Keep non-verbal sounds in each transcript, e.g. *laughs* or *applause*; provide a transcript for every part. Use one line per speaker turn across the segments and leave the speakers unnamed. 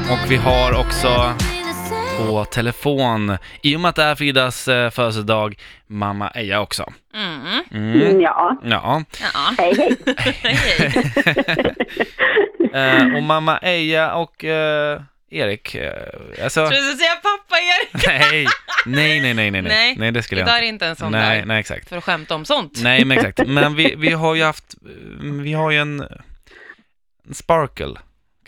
Och vi har också på telefon, i och med att det är Fridas eh, födelsedag, mamma Eja också.
Mm.
Mm.
Ja,
Ja.
Ja.
hej hej.
Hej.
Eh, och mamma Eja och eh, Erik, eh, alltså...
Tror du ska säga pappa Erik?
*laughs* Nej, nej, nej, nej, nej,
Nej,
nej, nej, det skulle jag
Idag är
inte.
det inte en sån
nej,
dag
nej, exakt.
för att skämta om sånt.
Nej, men exakt. Men vi, vi har ju haft, mm, vi har ju en, en sparkle,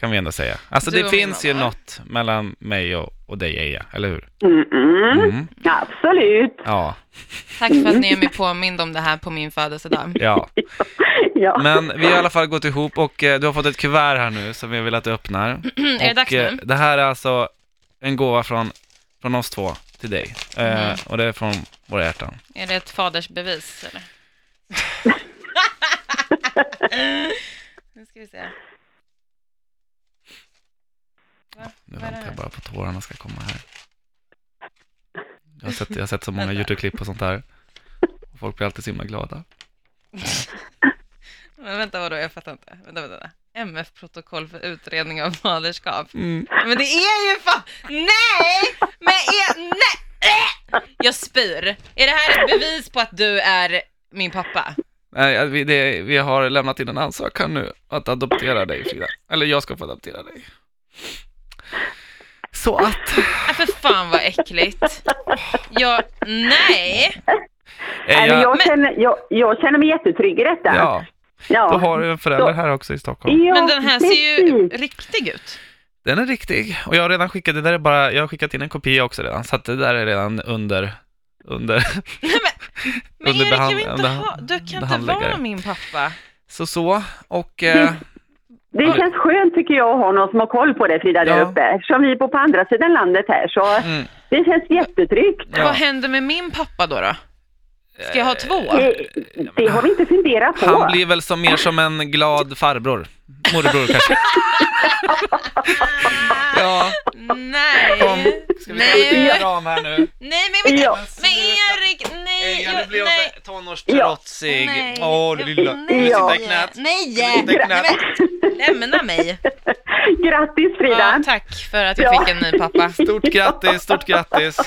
kan vi ändå säga. Alltså
Du
det
och
finns
min
ju
mamma.
något mellan mig och, och dig, Eja, eller hur?
Mm-mm.
Mm.
Absolut.
Ja,
Tack för att ni är mig påmind om det här på min födelsedag.
ja.
Ja.
Men vi har i alla fall gått ihop och eh, du har fått ett kuvert här nu som jag vill att du öppnar.
*clears throat* är det
och,
dags
eh,
nu?
det här är alltså en gåva från, från oss två till dig. Eh,
Mm.
Och det är från våra hjärtan.
Är det ett fadersbevis
*laughs*
eller? nu ska vi se. Va?
Nu
Vad är det
väntar
här?
jag bara på tårarna ska komma här. Jag har sett, jag har sett så många YouTube-klipp och sånt där. Och folk blir alltid så himla glada.
Men vänta vadå, jag fattar inte. Vänta, vänta. vänta. MF-protokoll för utredning av faderskap.
Mm.
Men det är ju fan... Nej! Men är... Nej! Äh! Jag spyr. Är det här ett bevis på att du är min pappa?
Nej, ja, vi, det, vi har lämnat in en ansökan nu att adoptera dig, Frida. Eller jag ska få adoptera dig. Så att...
Äh, för fan vad äckligt. Jag... Nej!
Är
Nej, men
jag,
jag, känner, jag, jag känner mig jättetrygg i detta.
eh, ja,
ja.
då har du en förälder här också i Stockholm.
Ja,
Men den här ser ju
precis.
riktig ut.
Den är riktig. Och jag har redan skickat, det där är bara, jag har skickat in en kopia också redan, så att det där är redan under, under, *laughs*
Nej, men men
Under
Erik, jag
behand-
vill inte
under-
ha... Du kan inte
behandläggare.
vara min pappa.
så så. Och... Eh,
Det känns skönt tycker jag att ha någon som har koll på det Frida där
Ja.
uppe. Som vi bor på andra sidan landet här så
mm,
det känns jättetryggt.
ja.
Vad händer med min pappa då? då? Ska jag ha två?
Det, Eh, det har vi inte funderat på.
eh, Han blir väl som, mer som en glad farbror. Morbror kanske. Ja,
Nej.
kom. Ska vi ta
Nej.
lite ram här nu?
Nej, men, men,
Ja. *laughs*
men Erik, nej,
Eja, nu
jag-
blir hon
nej.
så- tonårstrotsig. Åh, du lilla.
Nej.
Vill du sitta i knät?
Nej!
Vill du sitta i knät?
Lämna mig.
Grattis Frida!
Ja, tack för att jag
Ja.
fick en ny pappa.
Stort grattis, stort grattis.